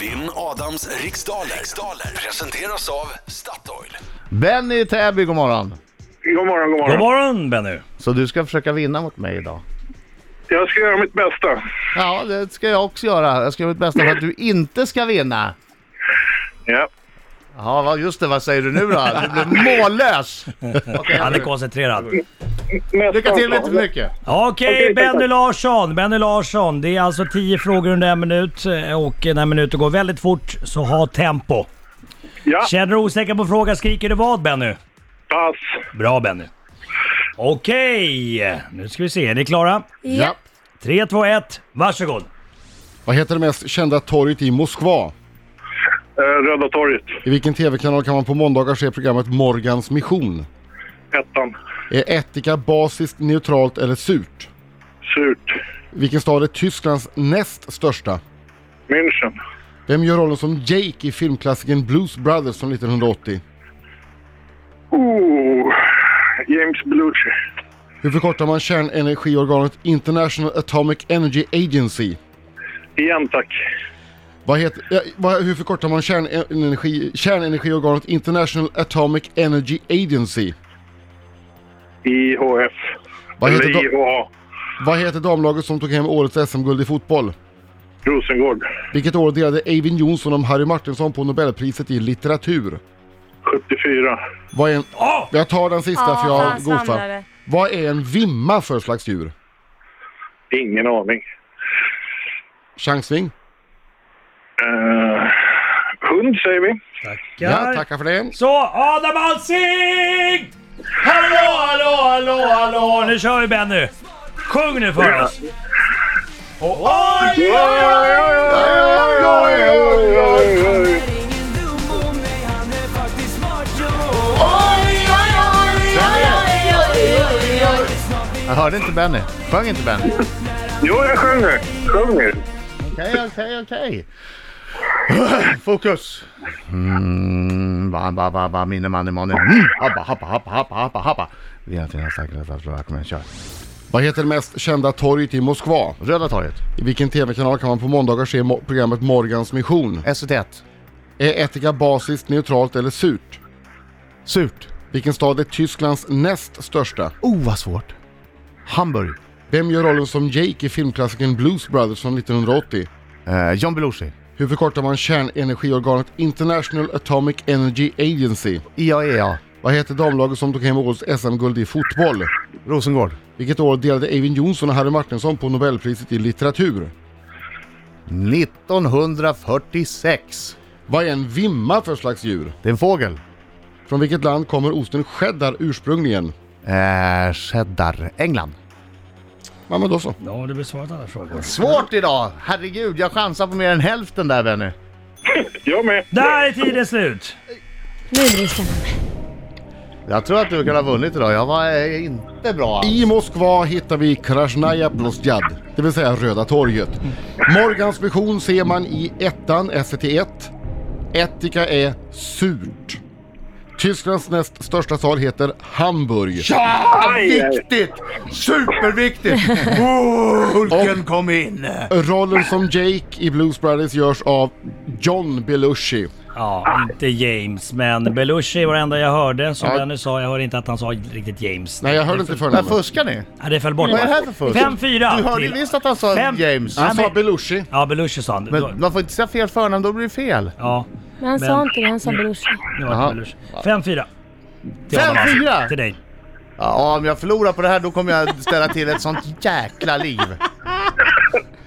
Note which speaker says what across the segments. Speaker 1: Vinn Adams riksdaler. riksdaler presenteras av Statoil.
Speaker 2: Benny i Täby, god morgon.
Speaker 3: God morgon, god
Speaker 4: God
Speaker 3: morgon.
Speaker 4: morgon Benny!
Speaker 2: Så du ska försöka vinna mot mig idag?
Speaker 3: Jag ska göra mitt bästa.
Speaker 2: Ja, det ska jag också göra. Jag ska göra mitt bästa för att du inte ska vinna.
Speaker 3: Ja.
Speaker 2: Ja, vad- just det. Vad säger du nu då? Du blev mållös! Okej,
Speaker 4: Han är koncentrerad.
Speaker 3: Nästa
Speaker 2: lycka till med
Speaker 3: slag.
Speaker 2: inte för mycket.
Speaker 4: Okej,
Speaker 3: Okej, tack,
Speaker 4: Benny
Speaker 3: tack.
Speaker 4: Larsson. Benny Larsson. Det är alltså 10 frågor under en minut eh, och när minuten går väldigt fort så ha tempo.
Speaker 3: Ja,
Speaker 4: Känner du osäker på frågan skriker du vad Benny?
Speaker 3: pass.
Speaker 4: Bra Benny. Okej, nu ska vi se. Är ni klara?
Speaker 2: Ja.
Speaker 4: 3, 2, 1, varsågod.
Speaker 5: Vad heter det mest kända torget i Moskva?
Speaker 3: Eh, Röda torget.
Speaker 5: I vilken tv-kanal kan man på måndagar se programmet Morgans mission?
Speaker 3: Ettan.
Speaker 5: Är ättika basiskt, neutralt eller surt?
Speaker 3: Surt.
Speaker 5: Vilken stad är Tysklands näst största?
Speaker 3: München.
Speaker 5: Vem gör rollen som Jake i filmklassikern Blues Brothers från 1980?
Speaker 3: Ooh. Oh, James Belushi.
Speaker 5: Hur förkortar man kärnenergiorganet International Atomic Energy Agency?
Speaker 3: Igen tack.
Speaker 5: Vad heter, ja, vad, hur förkortar man kärnenergi, kärnenergiorganet International Atomic Energy Agency?
Speaker 3: IHF.
Speaker 5: Vad heter,
Speaker 3: Eller
Speaker 5: da,
Speaker 3: IHA.
Speaker 5: vad heter damlaget som tog hem årets SM-guld i fotboll?
Speaker 3: Rosengård.
Speaker 5: Vilket år delade Eivind Johnson och Harry Martinsson på Nobelpriset i litteratur?
Speaker 3: 74.
Speaker 5: Vad är en...
Speaker 4: Åh!
Speaker 5: Jag tar den sista för jag
Speaker 6: Ja,
Speaker 5: har
Speaker 6: han
Speaker 5: gofa.
Speaker 6: samlade.
Speaker 5: Vad är en vimma för slags djur?
Speaker 3: Ingen aning.
Speaker 5: Chansning?
Speaker 3: Eh, hund säger vi.
Speaker 5: Ja,
Speaker 4: Tackar.
Speaker 5: tackar för det.
Speaker 4: Så, Adam Alsing! Hallå, hallå, hallå, hallå! Nu kör vi Benny! Sjung nu för oss! Och, oj, oj,
Speaker 2: Jag hörde inte Benny. Sjöng inte Benny.
Speaker 3: Jo, jag sjunger. Sjunger.
Speaker 2: Okej, okej, okej. Fokus. Mm, ba, ba, ba, ba, minne, manne, manne. Mm, Happa, happa, happa, happa, happa, happa. Vi har fina starka rädda Kom igen, kör.
Speaker 5: Vad heter det mest kända torget i Moskva?
Speaker 2: Röda torget.
Speaker 5: I vilken tv-kanal kan man på måndagar se mo- programmet Morgans mission?
Speaker 2: SVT1.
Speaker 5: Är ättika basiskt, neutralt eller surt?
Speaker 2: Surt.
Speaker 5: Vilken stad är Tysklands näst största?
Speaker 2: Oh, vad svårt. Hamburg.
Speaker 5: Vem gör rollen som Jake i filmklassikern Blues Brothers från 1980?
Speaker 2: Eh, John Belushi.
Speaker 5: Hur förkortar man kärnenergiorganet International Atomic Energy Agency?
Speaker 2: IAEA.
Speaker 5: Vad heter damlaget som tog hem årets SM-guld i fotboll?
Speaker 2: Rosengård.
Speaker 5: Vilket år delade Eivind Johnson och Harry Martinsson på Nobelpriset i litteratur?
Speaker 2: 1946.
Speaker 5: Vad är en vimma för slags djur?
Speaker 2: Det är en fågel.
Speaker 5: Från vilket land kommer osten cheddar ursprungligen?
Speaker 2: Eh, cheddar. England.
Speaker 5: Ja, men då så.
Speaker 4: Ja, du besvarat alla frågor.
Speaker 2: Svårt idag! Herregud, jag chansar på mer än hälften där Benny.
Speaker 3: Jag med.
Speaker 4: Där är tiden slut!
Speaker 2: Jag tror att du kan ha vunnit idag. Jag var eh, inte bra.
Speaker 5: I Moskva hittar vi Krasnaja Plosjad, det vill säga Röda torget. Morgans vision ser man i ettan, E SVT1. Ättika är surt. Tysklands näst största stad heter Hamburg.
Speaker 2: Ja,
Speaker 3: Aj, aj.
Speaker 2: viktigt! Superviktigt! Oh, Hulken kom in!
Speaker 5: Rollen som Jake i Blues Brothers görs av John Belushi.
Speaker 4: Ja, inte James, men Belushi var det enda jag hörde. Som
Speaker 5: Ja.
Speaker 4: Benny sa, jag hörde inte att han sa riktigt James.
Speaker 5: Nej, jag hörde inte
Speaker 2: Men
Speaker 5: förnamnet.
Speaker 2: fuskar ni?
Speaker 4: Ja, det föll bort
Speaker 2: Vad är det här för fusk?
Speaker 4: 5-4.
Speaker 2: Du hörde ju visst att han sa
Speaker 4: Fem-
Speaker 2: James.
Speaker 4: Ja,
Speaker 5: Han sa Belushi.
Speaker 4: Ja, Belushi sa han. Då-
Speaker 2: Men man får inte säga fel förnamn, då blir det fel.
Speaker 4: Ja,
Speaker 6: Men han
Speaker 4: Men-
Speaker 6: sa inte det, han sa brorsan.
Speaker 4: nu var
Speaker 2: Jaha.
Speaker 4: det Belushi. 5-4. Till Adam Alsing.
Speaker 2: 5-4!
Speaker 4: Till dig.
Speaker 2: Ja, om jag förlorar på det här då kommer jag ställa till ett sånt jäkla liv.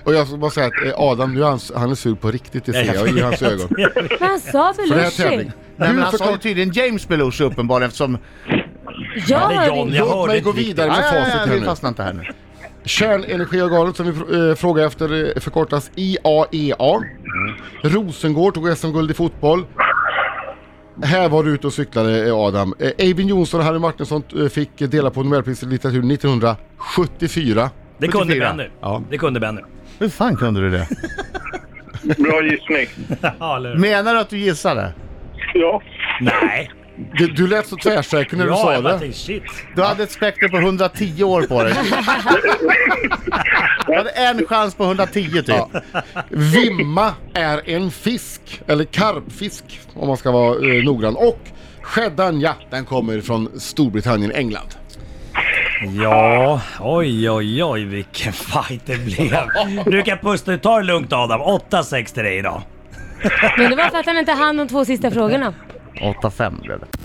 Speaker 5: Och jag ska bara säga att eh, Adam, nu är han, han är sur på riktigt, det ser jag i hans ögon.
Speaker 6: Men han sa
Speaker 5: För det här är
Speaker 6: Belushi.
Speaker 5: tävling.
Speaker 2: Nej, men alltså, han sa ju
Speaker 5: förklar-
Speaker 2: tydligen James Belushi uppenbarligen eftersom...
Speaker 6: Jag
Speaker 4: det är
Speaker 6: hörde
Speaker 4: John,
Speaker 6: inte.
Speaker 4: Jag
Speaker 5: Låt
Speaker 4: hörde
Speaker 5: mig
Speaker 4: inte
Speaker 5: gå
Speaker 4: riktigt.
Speaker 5: vidare med
Speaker 2: Nej, nej,
Speaker 5: facit
Speaker 2: nej,
Speaker 5: här
Speaker 2: vi
Speaker 5: nu.
Speaker 2: fastnar inte här nu.
Speaker 5: Kärnenergiorganet som vi fr- eh, frågar efter eh, förkortas IAEA. Rosengård tog SM-guld i fotboll. Här var du ute och cyklade eh, Adam. Eh, Eivind Jonsson och Harry Martinsson eh, fick dela på Nobelpriset i litteratur 1974.
Speaker 4: Det kunde
Speaker 2: 74.
Speaker 4: Benny.
Speaker 5: Ja.
Speaker 4: Det kunde Benny.
Speaker 2: Hur fan kunde du det?
Speaker 3: Bra gissning.
Speaker 4: Ja, eller hur?
Speaker 2: Menar du att du gissade?
Speaker 3: Ja.
Speaker 4: Nej,
Speaker 5: Du, du lät så tvärsäker när du
Speaker 4: Ja,
Speaker 5: sa
Speaker 4: jag bara
Speaker 5: det.
Speaker 4: tänkte shit.
Speaker 2: Du hade ett spekter på 110 år på dig. Du hade en chans på 110 typ.
Speaker 5: Vimma är en fisk, eller karpfisk om man ska vara eh, noggrann. Och skedanja, den kommer från Storbritannien, England.
Speaker 4: Ja, oj, oj, oj vilken fight det blev. Du kan pusta ut, ta det lugnt Adam. 8-6 till dig idag.
Speaker 6: Men det var för att han inte hann de två sista frågorna.
Speaker 2: 8-5 blev det.